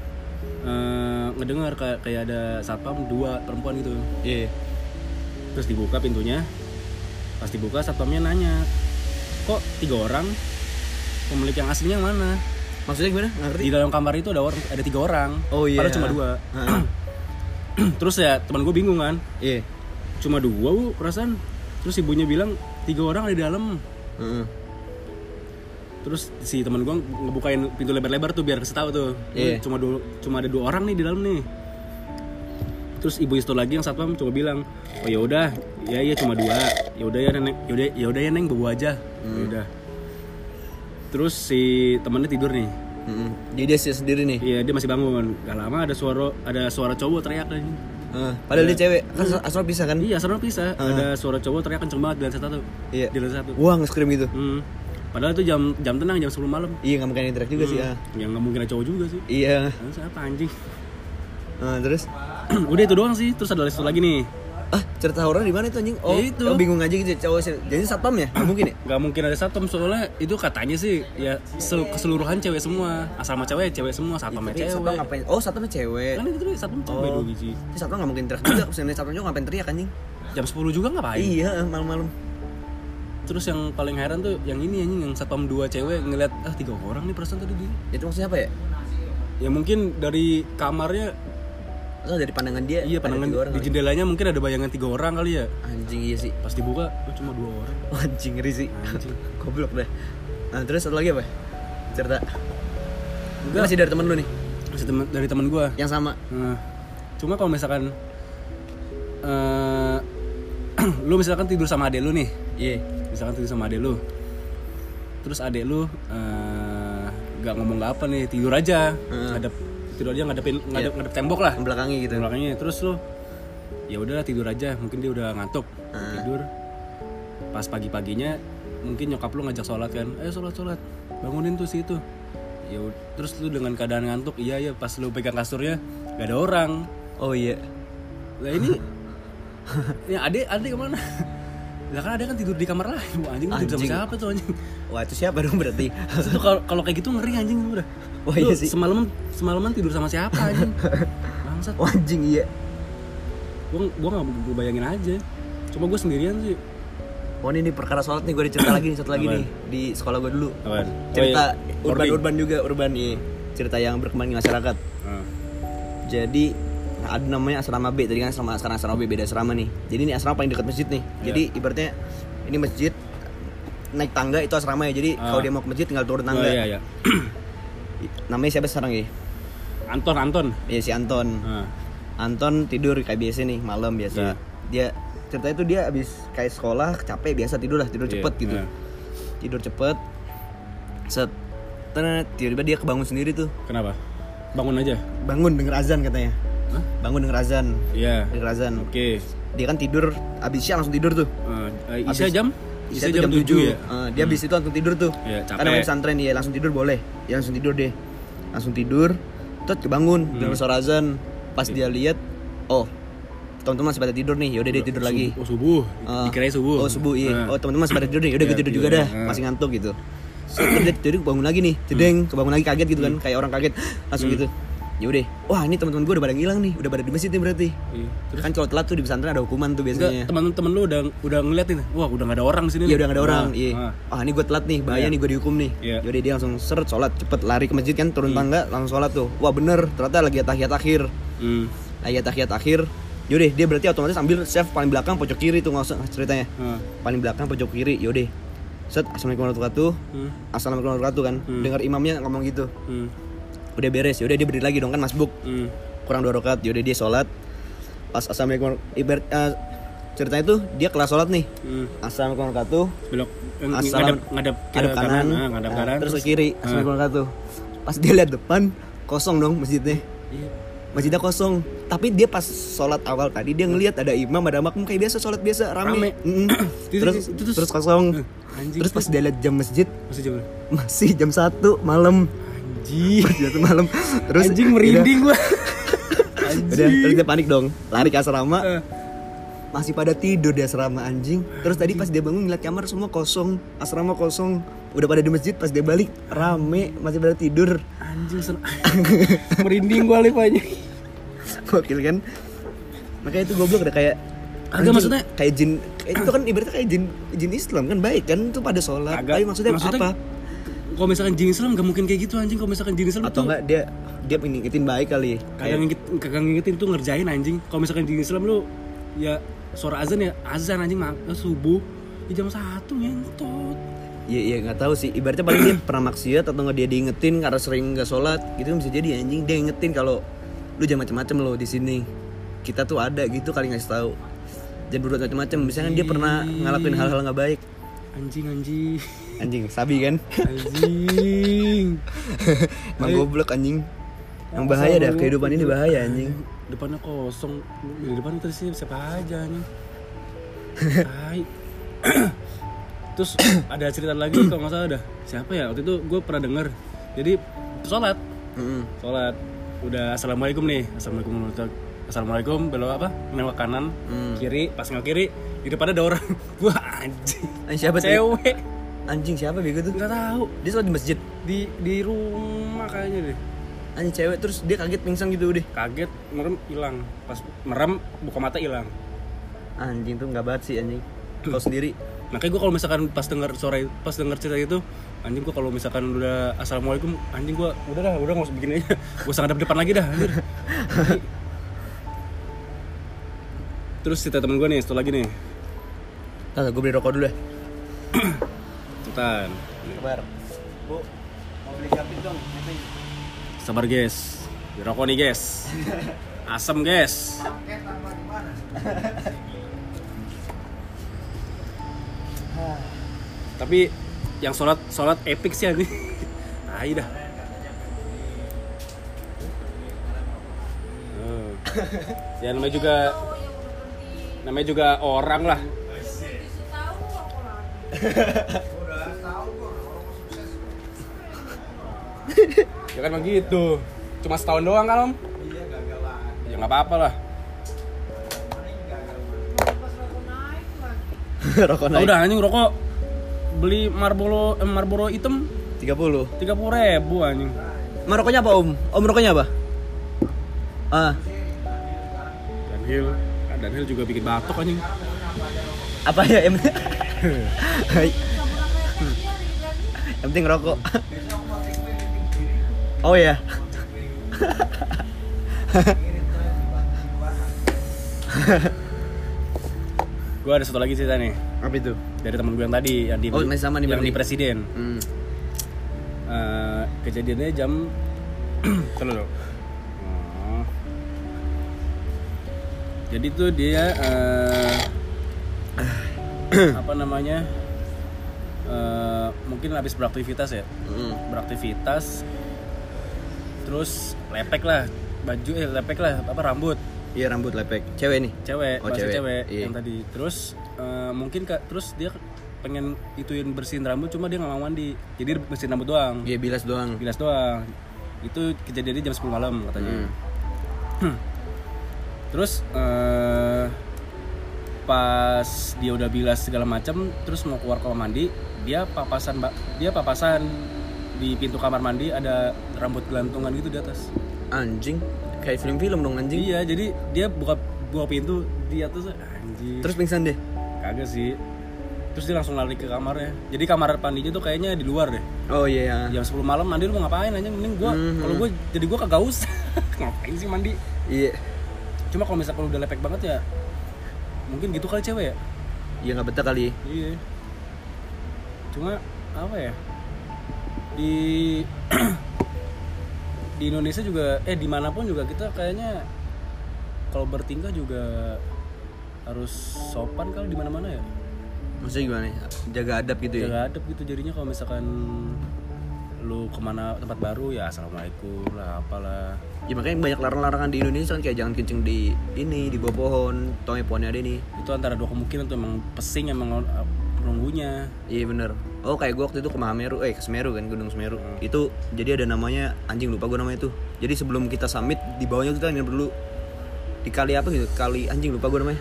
Speaker 2: eh, ngedengar kayak kayak ada satpam dua perempuan gitu
Speaker 3: Iya.
Speaker 2: terus dibuka pintunya pas dibuka satpamnya nanya kok tiga orang pemilik yang aslinya yang mana
Speaker 1: Maksudnya gimana? Nggak ngerti?
Speaker 2: di dalam kamar itu ada orang ada tiga orang
Speaker 1: Oh, iya.
Speaker 2: padahal cuma dua
Speaker 1: Heeh.
Speaker 2: terus ya teman gue bingung kan
Speaker 1: Iya.
Speaker 2: cuma dua bu perasaan terus ibunya bilang tiga orang ada di dalam
Speaker 1: Heeh.
Speaker 2: terus si teman gue ngebukain pintu lebar-lebar tuh biar kasih tahu tuh
Speaker 1: Iya.
Speaker 2: cuma dua, cuma ada dua orang nih di dalam nih terus ibu itu lagi yang satpam cuma bilang oh ya udah ya iya cuma dua ya udah ya neng ya udah ya udah ya neng bawa aja
Speaker 1: Hmm.
Speaker 2: ya udah terus si temannya tidur nih
Speaker 1: Heeh. Jadi Hmm. dia sendiri nih.
Speaker 2: iya dia masih bangun gak lama ada suara ada suara cowok teriak lagi
Speaker 1: Heeh. Padahal dia cewek. Kan asal bisa kan?
Speaker 2: iya serem pisah ada suara cowok teriak kenceng banget di lantai satu
Speaker 1: Iya.
Speaker 2: di lantai satu
Speaker 1: Wah, nge-scream gitu.
Speaker 2: Hmm. Padahal itu jam jam tenang jam 10 malam.
Speaker 1: Iya, nggak mungkin interact juga sih. ah.
Speaker 2: Yang nggak mungkin ada cowok juga sih.
Speaker 1: Iya.
Speaker 2: Lalu siapa anjing?
Speaker 1: Heeh, terus
Speaker 2: Udah itu doang sih. Terus ada satu lagi nih.
Speaker 1: ah cerita horor di mana itu anjing? Oh,
Speaker 2: Ya itu.
Speaker 1: oh, bingung aja gitu cowok. sen- Jadi satpam ya? Nggak mungkin ya?
Speaker 2: Gak mungkin ada satpam soalnya itu katanya sih ya sel- keseluruhan cewek semua. Asal sama cewek cewek semua satpamnya
Speaker 1: Tapi
Speaker 2: cewek.
Speaker 1: satpam ngapain? Oh, satpamnya cewek.
Speaker 2: Kan itu tuh satpam cewek
Speaker 1: Oh.
Speaker 2: dua biji.
Speaker 1: Tapi satpam nggak mungkin interact juga. Sebenarnya satpam juga ngapain teriak anjing?
Speaker 2: Jam 10 juga ngapain?
Speaker 1: Iya, eh, malam-malam.
Speaker 2: Terus yang paling heran tuh yang ini anjing yang satpam dua cewek ngeliat ah tiga orang nih perasaan tadi di.
Speaker 1: Itu maksudnya apa ya?
Speaker 2: Ya mungkin dari kamarnya
Speaker 1: Atau dari pandangan dia?
Speaker 2: iya
Speaker 1: ada
Speaker 2: pandangan
Speaker 1: tiga orang
Speaker 2: di
Speaker 1: kali.
Speaker 2: jendelanya mungkin ada bayangan tiga orang kali ya.
Speaker 1: Anjing iya sih.
Speaker 2: Pas dibuka oh, cuma dua orang.
Speaker 1: Anjing ngeri sih.
Speaker 2: Anjing.
Speaker 1: Goblok deh. Nah, terus satu lagi apa? Cerita. Enggak.
Speaker 2: Enggak.
Speaker 1: Masih dari temen lu nih,
Speaker 2: Terus temen- dari teman gua.
Speaker 1: yang sama.
Speaker 2: Nah, cuma kalau misalkan eh lu misalkan tidur sama adek lu nih,
Speaker 1: Iya.
Speaker 2: misalkan tidur sama adek lu, terus adek lu eh, nggak ngomong nggak apa nih tidur aja, ngadep tidur aja ngadepin ngadep, ngadep tembok lah,
Speaker 1: Belakangnya gitu.
Speaker 2: belakangnya terus lu ya udahlah tidur aja, mungkin dia udah ngantuk
Speaker 1: Ah.
Speaker 2: tidur. Pas pagi paginya mungkin nyokap lu ngajak sholat kan, ayo sholat sholat, bangunin tuh si itu. Ya, ud- terus lu dengan keadaan ngantuk, iya ya pas lu pegang kasurnya gak ada orang,
Speaker 1: Oh iya.
Speaker 2: lah ini ya adik adik kemana lah kan adik kan tidur di kamar lain Wah, anjing, anjing. tidur
Speaker 1: Anjing.
Speaker 2: sama siapa tuh anjing
Speaker 1: Wah, itu siapa dong berarti?
Speaker 2: Terus tuh kalau kalau kayak gitu ngeri anjing udah
Speaker 1: Wah, iya
Speaker 2: Lu
Speaker 1: sih.
Speaker 2: semalaman semalaman tidur sama siapa anjing bangsat
Speaker 1: Oh, anjing iya.
Speaker 2: gua gua nggak gua bayangin aja cuma gua sendirian sih
Speaker 1: Oh ini, ini perkara sholat nih, gue ada cerita lagi nih, satu lagi
Speaker 2: Apaan?
Speaker 1: nih di sekolah gue dulu.
Speaker 2: Apaan?
Speaker 1: Cerita
Speaker 2: Oh, iya.
Speaker 1: urban
Speaker 2: Boarding.
Speaker 1: urban juga urban iya. Cerita yang berkembang di masyarakat.
Speaker 2: Ah.
Speaker 1: Jadi ada namanya asrama B tadi kan asrama sekarang asrama B beda asrama nih. Jadi ini asrama paling dekat masjid nih.
Speaker 2: Iya.
Speaker 1: Jadi ibaratnya ini masjid naik tangga itu asrama ya. Jadi kalau dia mau ke masjid tinggal turun
Speaker 2: Ah. oh
Speaker 1: tangga.
Speaker 2: iya iya
Speaker 1: Namanya siapa sekarang ya?
Speaker 2: Anton Anton
Speaker 1: Ya si Anton.
Speaker 2: Ah.
Speaker 1: Anton tidur kayak biasa nih malam
Speaker 2: Iya.
Speaker 1: biasa. Dia ceritanya itu dia abis kayak sekolah capek biasa tidur lah tidur
Speaker 2: Iya,
Speaker 1: cepet gitu.
Speaker 2: iya.
Speaker 1: Tidur cepet. Set. Ternyata tiba-tiba dia kebangun sendiri tuh.
Speaker 2: kenapa bangun aja
Speaker 1: Bangun denger azan katanya.
Speaker 2: Hah?
Speaker 1: Bangun denger azan.
Speaker 2: iya
Speaker 1: Denger azan.
Speaker 2: oke
Speaker 1: Dia kan tidur abis siang langsung tidur tuh.
Speaker 2: Ah, eh, Isya jam
Speaker 1: Isya tuh jam, 7,
Speaker 2: tujuh ya
Speaker 1: Eh, dia abis itu langsung tidur tuh.
Speaker 2: Iya, capek.
Speaker 1: Karena main pesantren dia langsung tidur boleh. Dia langsung tidur deh. Langsung tidur. Terus kebangun
Speaker 2: Hmm.
Speaker 1: denger suara azan. Pas dia
Speaker 2: Iya.
Speaker 1: lihat, oh teman-teman masih pada tidur nih. Yaudah dia tidur lagi.
Speaker 2: oh subuh
Speaker 1: Eh,
Speaker 2: dikira subuh
Speaker 1: Oh subuh iya. Oh
Speaker 2: Ah.
Speaker 1: teman-teman masih pada tidur nih. Yaudah gue
Speaker 2: Iya,
Speaker 1: tidur
Speaker 2: tidur
Speaker 1: juga
Speaker 2: ya.
Speaker 1: dah.
Speaker 2: Ah.
Speaker 1: Masih ngantuk gitu. So, terus dia tidur kebangun lagi nih.
Speaker 2: Hmm.
Speaker 1: Cedeng, kebangun lagi kaget gitu kan. Kayak orang kaget langsung gitu. Yaudah, wah ini teman-teman gue udah pada ngilang nih, udah pada di masjid nih berarti.
Speaker 2: Iya.
Speaker 1: Kan kalau telat tuh di pesantren ada hukuman tuh
Speaker 2: Enggak,
Speaker 1: biasanya.
Speaker 2: teman-teman lu udah udah ngeliat nih, wah udah nggak ada orang di sini.
Speaker 1: Iya udah gak ada orang.
Speaker 2: Nah,
Speaker 1: Iya.
Speaker 2: nah.
Speaker 1: Ah ini gue telat nih, bahaya nih gue dihukum nih.
Speaker 2: Iya.
Speaker 1: Yaudah dia langsung seret sholat, cepet lari ke masjid kan, turun tangga langsung sholat tuh. Wah bener, ternyata lagi tahiyat akhir,
Speaker 2: Hmm.
Speaker 1: lagi tahiyat akhir. Yaudah dia berarti otomatis ambil chef paling belakang pojok kiri tuh nggak usah ah, ceritanya.
Speaker 2: Nah.
Speaker 1: Paling belakang pojok kiri, yaudah. Set assalamualaikum warahmatullahi wabarakatuh.
Speaker 2: Hmm.
Speaker 1: Assalamualaikum warahmatullahi wabarakatuh kan. Dengar imamnya ngomong gitu.
Speaker 2: Hmm.
Speaker 1: Udah beres, yaudah dia berdiri lagi dong kan masbuk.
Speaker 2: Hmm.
Speaker 1: Kurang dua rakaat, yaudah dia sholat. Pas assalamualaikum ibarat eh, ceritanya tuh dia kelas sholat nih.
Speaker 2: Hmm.
Speaker 1: Assalamualaikum warahmatullahi wabarakatuh.
Speaker 2: Belok eh,
Speaker 1: Assalam-
Speaker 2: ngadep ngadep ke
Speaker 1: Ngadep kanan,
Speaker 2: ah, ngadep
Speaker 1: nah,
Speaker 2: kanan. Ah.
Speaker 1: terus ke kiri assalamualaikum warahmatullahi wabarakatuh. pas dia lihat depan kosong dong masjidnya
Speaker 2: Iya.
Speaker 1: masjidnya kosong tapi dia pas sholat awal tadi dia ngelihat ada imam ada makmum kayak biasa sholat biasa
Speaker 2: Rame.
Speaker 1: rame, Mm-mm.
Speaker 2: Itu-
Speaker 1: terus
Speaker 2: itu- itu-
Speaker 1: terus, kosong
Speaker 2: Eh, anjing.
Speaker 1: terus pas dia lihat jam masjid
Speaker 2: Masih jam berapa?
Speaker 1: masih jam satu malam
Speaker 2: Anjing.
Speaker 1: Pas jam satu malam terus
Speaker 2: Anjing
Speaker 1: udah-
Speaker 2: merinding gua.
Speaker 1: udah, terus
Speaker 2: Anjing.
Speaker 1: dia panik dong lari ke asrama
Speaker 2: Eh.
Speaker 1: masih pada tidur di asrama anjing terus tadi pas dia bangun ngeliat kamar semua kosong asrama kosong udah pada di masjid pas dia balik rame masih pada tidur
Speaker 2: Anjing sen- merinding gua lip aja.
Speaker 1: gokil kan makanya itu goblok udah kayak
Speaker 2: Kagak,
Speaker 1: anjing,
Speaker 2: maksudnya-
Speaker 1: kayak jin kayak itu kan ibaratnya kayak jin jin Islam kan baik kan itu pada sholat tapi maksudnya, apa
Speaker 2: gitu. Kalau misalkan jin Islam gak mungkin kayak gitu anjing. Kalau misalkan jin Islam
Speaker 1: atau
Speaker 2: tuh
Speaker 1: enggak dia dia ngingetin baik kali
Speaker 2: kadang
Speaker 1: kayak,
Speaker 2: ngingit, kadang ngingetin tuh ngerjain anjing. Kalau misalkan jin Islam lu ya suara azan ya azan anjing mak eh, subuh di jam satu ngentot.
Speaker 1: ya ya nggak tahu sih ibaratnya paling dia pernah maksiat atau nggak dia diingetin karena sering nggak sholat gitu kan bisa jadi anjing dia ingetin kalau lu jangan macem-macem lo di sini kita tuh ada gitu kali ngasih tahu jangan berbuat macem-macem misalnya kan dia pernah ngelakuin hal-hal nggak baik
Speaker 2: Anjing anjing
Speaker 1: anjing sabi kan
Speaker 2: anjing.
Speaker 1: emang goblok anjing yang bahaya dah kehidupan ini bahaya anjing
Speaker 2: Depannya kosong. Di depan terus siapa aja anjing. Tai. terus ada cerita lagi kalau nggak salah ada siapa ya waktu itu gue pernah denger jadi sholat
Speaker 1: Mm-mm.
Speaker 2: sholat udah assalamualaikum nih assalamualaikum warahmatullahi wabarakatuh. assalamualaikum belok apa nengok kanan
Speaker 1: Hmm.
Speaker 2: kiri pas nengok kiri di depannya ada orang wah anjing
Speaker 1: Anjing siapa tuh?
Speaker 2: cewek
Speaker 1: Anjing siapa bego tuh?
Speaker 2: nggak tahu
Speaker 1: Dia sholat di masjid.
Speaker 2: di di rumah kayaknya deh
Speaker 1: Anjing cewek terus dia kaget pingsan gitu deh.
Speaker 2: kaget merem hilang pas merem buka mata hilang
Speaker 1: Anjing tuh nggak banget sih anjing. Kau sendiri
Speaker 2: makanya gue kalau misalkan pas denger suara itu- pas denger cerita itu anjing gue kalau misalkan udah assalamualaikum anjing gue udah dah udah nggak usah begini aja gue usah ngadep depan lagi dah anjir terus cerita temen gue nih satu lagi nih
Speaker 1: Tata gue beli rokok dulu ya.
Speaker 2: Cepetan
Speaker 1: Kabar. Bu, mau beli kapit dong.
Speaker 2: Sabar guys Di Rokok nih guys Asem guys Tapi yang sholat sholat epic sih ini. Tai dah. Hmm. Ya namanya juga namanya juga orang lah. ya kan begitu cuma setahun doang kan om iya ya nggak apa-apa lah
Speaker 1: rokok
Speaker 2: Nah,
Speaker 1: naik.
Speaker 2: udah anjing rokok beli Marlboro eh, Marlboro hitam
Speaker 1: 30.
Speaker 2: tiga puluh ribu anjing
Speaker 1: Ma rokoknya apa, Om? Om rokoknya apa? Ah,
Speaker 2: dan Hill dan Hill Ah, juga bikin batuk anjing
Speaker 1: apa ya em? Hai. Yang penting rokok. Oh ya.
Speaker 2: gue ada satu lagi cerita nih
Speaker 1: Apa itu?
Speaker 2: dari temen gue yang tadi yang di
Speaker 1: Oh, masih sama nih
Speaker 2: yang
Speaker 1: berarti.
Speaker 2: di presiden
Speaker 1: Hmm.
Speaker 2: Eh, kejadiannya jam Tunggu dulu. Oh. Jadi tuh dia eh, apa namanya? eh, mungkin habis beraktivitas ya.
Speaker 1: Hmm.
Speaker 2: Beraktivitas terus lepek lah baju eh lepek lah apa rambut
Speaker 1: Iya rambut lepek. Cewek nih.
Speaker 2: cewek
Speaker 1: Oh,
Speaker 2: bahasa
Speaker 1: cewek.
Speaker 2: cewek,
Speaker 1: Iya.
Speaker 2: yang tadi terus eh, mungkin kak terus dia pengen ituin bersihin rambut cuma dia nggak mau mandi jadi dia bersihin rambut doang
Speaker 1: Dia bilas doang.
Speaker 2: Gilas doang. Itu kejadiannya jam 10 malam katanya.
Speaker 1: Hmm.
Speaker 2: Terus eh, pas dia udah bilas segala macam, terus mau keluar kamar mandi, dia papasan ba- dia papasan di pintu kamar mandi ada rambut gelantungan gitu di atas.
Speaker 1: Anjing. Kayak film-film dong anjing.
Speaker 2: Iya, jadi dia buka buka pintu di atas anjir.
Speaker 1: Terus pingsan deh.
Speaker 2: kagak sih. Terus dia langsung lari ke kamarnya. Jadi kamar mandinya tuh kayaknya di luar deh.
Speaker 1: Oh iya.
Speaker 2: Jam 10 malam mandi lu mau ngapain aja mending gua
Speaker 1: Mhm.
Speaker 2: kalau gua jadi gua kagak usah. ngapain sih mandi?
Speaker 1: Iya.
Speaker 2: Cuma kalau misalkan udah lepek banget ya mungkin gitu kali cewek ya.
Speaker 1: Iya nggak betah kali. ya.
Speaker 2: Iya. Cuma apa ya? Di di Indonesia juga eh dimanapun juga kita kayaknya kalau bertingkah juga harus sopan kalau di mana-mana ya.
Speaker 1: Maksudnya gimana? ya? Jaga adab gitu ya.
Speaker 2: Jaga adab gitu jadinya kalau misalkan lu kemana tempat baru ya assalamualaikum lah apalah
Speaker 1: Ya makanya banyak larang-larangan di Indonesia kan kayak jangan kencing di ini di bawah pohon, tolong ya pohonnya ada nih.
Speaker 2: itu antara dua kemungkinan tuh emang pesing emang uh, penunggunya
Speaker 1: Iya bener. Oh kayak gua waktu itu ke Mahameru, eh ke Semeru kan Gunung Semeru. Itu jadi ada namanya anjing lupa gua namanya tuh. Jadi sebelum kita summit di bawahnya kita nginep dulu di kali apa gitu? Kali anjing lupa gua namanya.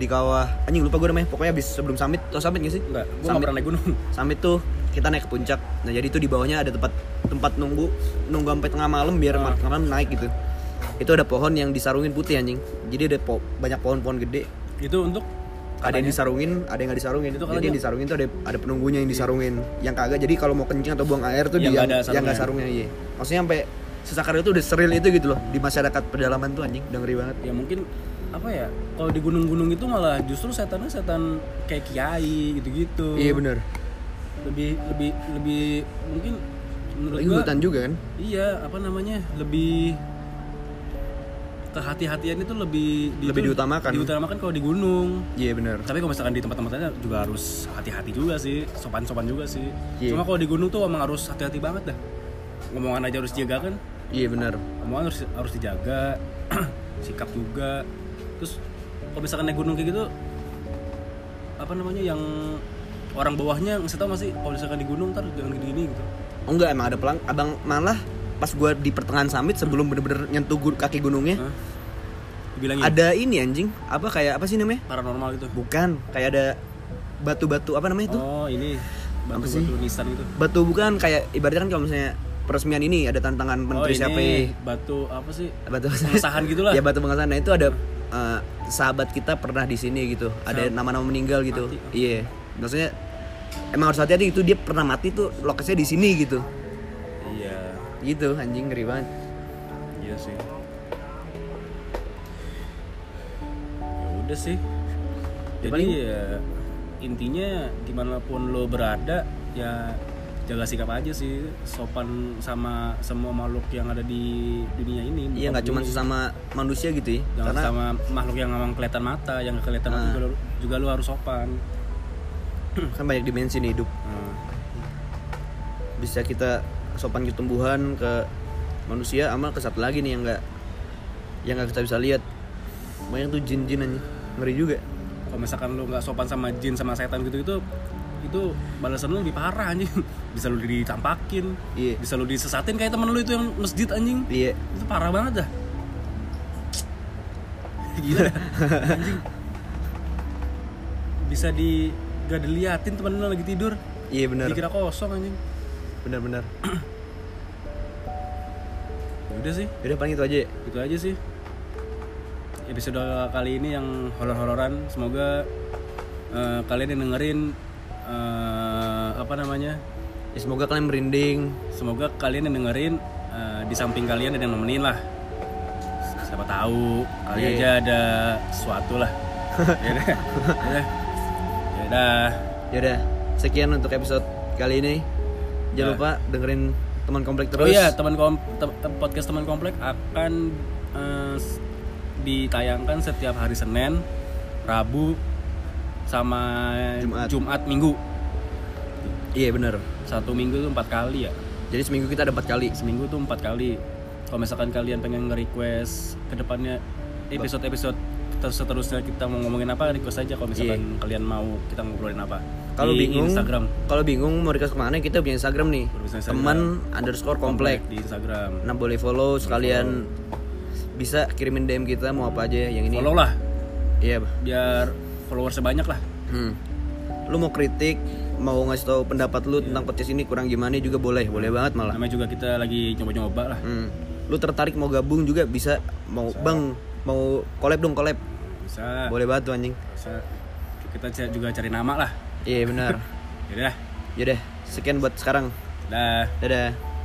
Speaker 1: Di kawah anjing lupa gua namanya. Pokoknya habis sebelum summit, tau summit gak sih?
Speaker 2: enggak gua nggak
Speaker 1: Summit.
Speaker 2: pernah naik gunung
Speaker 1: Summit tuh kita naik ke puncak nah jadi itu di bawahnya ada tempat tempat nunggu nunggu sampai tengah malam biar ma-
Speaker 2: Ah.
Speaker 1: tengah malam naik gitu itu ada pohon yang disarungin putih anjing jadi ada po- banyak pohon-pohon gede
Speaker 2: Itu untuk
Speaker 1: ada yang disarungin ada yang nggak disarungin jadi
Speaker 2: Itu
Speaker 1: yang
Speaker 2: katanya-
Speaker 1: disarungin tuh ada ada penunggunya yang disarungin yang kagak jadi kalau mau kencing atau buang air tuh dia
Speaker 2: Yang nggak ada
Speaker 1: yang nggak sarungnya iya maksudnya sampai sesakar itu udah seril itu gitu loh di masyarakat pedalaman tuh anjing udah ngeri banget
Speaker 2: ya mungkin apa ya? Kalau di gunung-gunung itu malah justru setannya setan kayak kiai gitu-gitu.
Speaker 1: iya bener
Speaker 2: Lebih lebih lebih mungkin menurut
Speaker 1: lagi
Speaker 2: gua
Speaker 1: hutan juga kan
Speaker 2: iya apa namanya? Lebih kehati-hatian itu lebih di-
Speaker 1: Lebih
Speaker 2: itu
Speaker 1: diutamakan.
Speaker 2: Diutamakan kalau di gunung.
Speaker 1: iya bener
Speaker 2: Tapi kalau misalkan di tempat-tempat lain juga harus hati-hati juga sih, sopan-sopan juga sih.
Speaker 1: Iya.
Speaker 2: Cuma kalau di gunung tuh emang harus hati-hati banget dah. Ngomongan aja harus jaga kan.
Speaker 1: iya bener
Speaker 2: omongan harus harus dijaga sikap juga terus kalau misalkan naik gunung kayak gitu apa namanya yang orang bawahnya ngasih tau masih kalau misalkan di gunung ntar jangan gini gini gitu
Speaker 1: Oh, enggak emang ada pelang abang malah pas gua di pertengahan summit sebelum bener-bener nyentuh gu- kaki gunungnya
Speaker 2: Hah? dibilangin
Speaker 1: ada ini anjing apa kayak apa sih namanya
Speaker 2: paranormal gitu
Speaker 1: bukan kayak ada batu-batu apa namanya itu
Speaker 2: oh ini gitu. batu
Speaker 1: sih?
Speaker 2: batu nisan itu
Speaker 1: batu bukan kayak ibaratnya kan kalau misalnya peresmian ini ada tantangan
Speaker 2: oh
Speaker 1: menteri
Speaker 2: ini
Speaker 1: siapa ya.
Speaker 2: batu apa sih
Speaker 1: batu
Speaker 2: pengesahan gitulah
Speaker 1: ya batu pengasahan nah itu ada eh, sahabat kita pernah di sini gitu ada nama-nama meninggal gitu
Speaker 2: Mati.
Speaker 1: iya maksudnya emang harus hati-hati itu dia pernah mati tuh lokasinya di sini gitu
Speaker 2: iya
Speaker 1: gitu anjing ngeri banget
Speaker 2: iya sih ya udah sih jadi
Speaker 1: paling-
Speaker 2: ya intinya dimanapun lo berada ya jaga sikap aja sih sopan sama semua makhluk yang ada di dunia ini
Speaker 1: iya nggak cuma sesama manusia gitu ya
Speaker 2: Jangan
Speaker 1: karena
Speaker 2: sama makhluk yang memang kelihatan mata yang nggak kelihatan mata juga lo, juga lo harus sopan
Speaker 1: kan banyak dimensi nih hidup
Speaker 2: Nah,
Speaker 1: bisa kita sopan ke tumbuhan ke manusia ama ke satu lagi nih yang nggak yang nggak kita bisa lihat banyak tuh jin-jin anjing ngeri juga
Speaker 2: kalau misalkan lo nggak sopan sama jin sama setan gitu itu itu balasan lo lebih parah anjing bisa lo ditampakin
Speaker 1: iya
Speaker 2: bisa lo disesatin kayak temen lo itu yang masjid anjing
Speaker 1: iya
Speaker 2: itu parah banget dah gila dah. anjing bisa di gak diliatin temen lo lagi tidur
Speaker 1: iya benar
Speaker 2: dikira kosong anjing
Speaker 1: benar benar
Speaker 2: Ya udah sih
Speaker 1: udah paling itu aja ya.
Speaker 2: gitu aja sih episode kali ini yang horor-hororan semoga eh, kalian yang dengerin eh, apa namanya
Speaker 1: Ya, semoga kalian merinding
Speaker 2: semoga kalian yang dengerin eh, di samping kalian ada yang nemenin lah siapa tahu kali
Speaker 1: Iya.
Speaker 2: aja ada sesuatu lah ya udah ya udah
Speaker 1: ya udah sekian untuk episode kali ini jangan lupa dengerin teman komplek
Speaker 2: Ya. oh
Speaker 1: terus
Speaker 2: iya teman kom- te- te- podcast teman komplek akan eh, s- ditayangkan setiap hari Senin Rabu sama
Speaker 1: Jumat.
Speaker 2: Minggu
Speaker 1: iya benar
Speaker 2: satu minggu tuh empat kali ya
Speaker 1: jadi seminggu kita ada empat kali
Speaker 2: seminggu tuh empat kali kalau misalkan kalian pengen nge-request kedepannya episode-episode ter- seterusnya kita mau ngomongin apa request aja kalau misalkan kalian mau kita ngobrolin apa
Speaker 1: Iya. Kalau
Speaker 2: Di
Speaker 1: bingung,
Speaker 2: Instagram
Speaker 1: kalau bingung mau request kemana kita punya instagram nih
Speaker 2: Punya Instagram.
Speaker 1: teman underscore komplek
Speaker 2: di Instagram
Speaker 1: Nah boleh follow sekalian bisa kirimin DM kita mau apa aja ya, yang ini.
Speaker 2: follow lah
Speaker 1: Iya. Bah.
Speaker 2: biar follower sebanyak lah
Speaker 1: Hmm. Lu mau kritik, mau ngasih tahu pendapat lu tentang podcast ini kurang gimana juga boleh, boleh banget malah.
Speaker 2: namanya juga kita lagi nyoba-nyoba lah
Speaker 1: Hmm. Lu tertarik mau gabung juga bisa, mau bang mau collab dong collab,
Speaker 2: bisa
Speaker 1: boleh banget tuh anjing.
Speaker 2: bisa kita ca- juga cari nama lah
Speaker 1: Iya benar.
Speaker 2: yaudah
Speaker 1: Yaudah sekian buat sekarang.
Speaker 2: dah
Speaker 1: Dadah.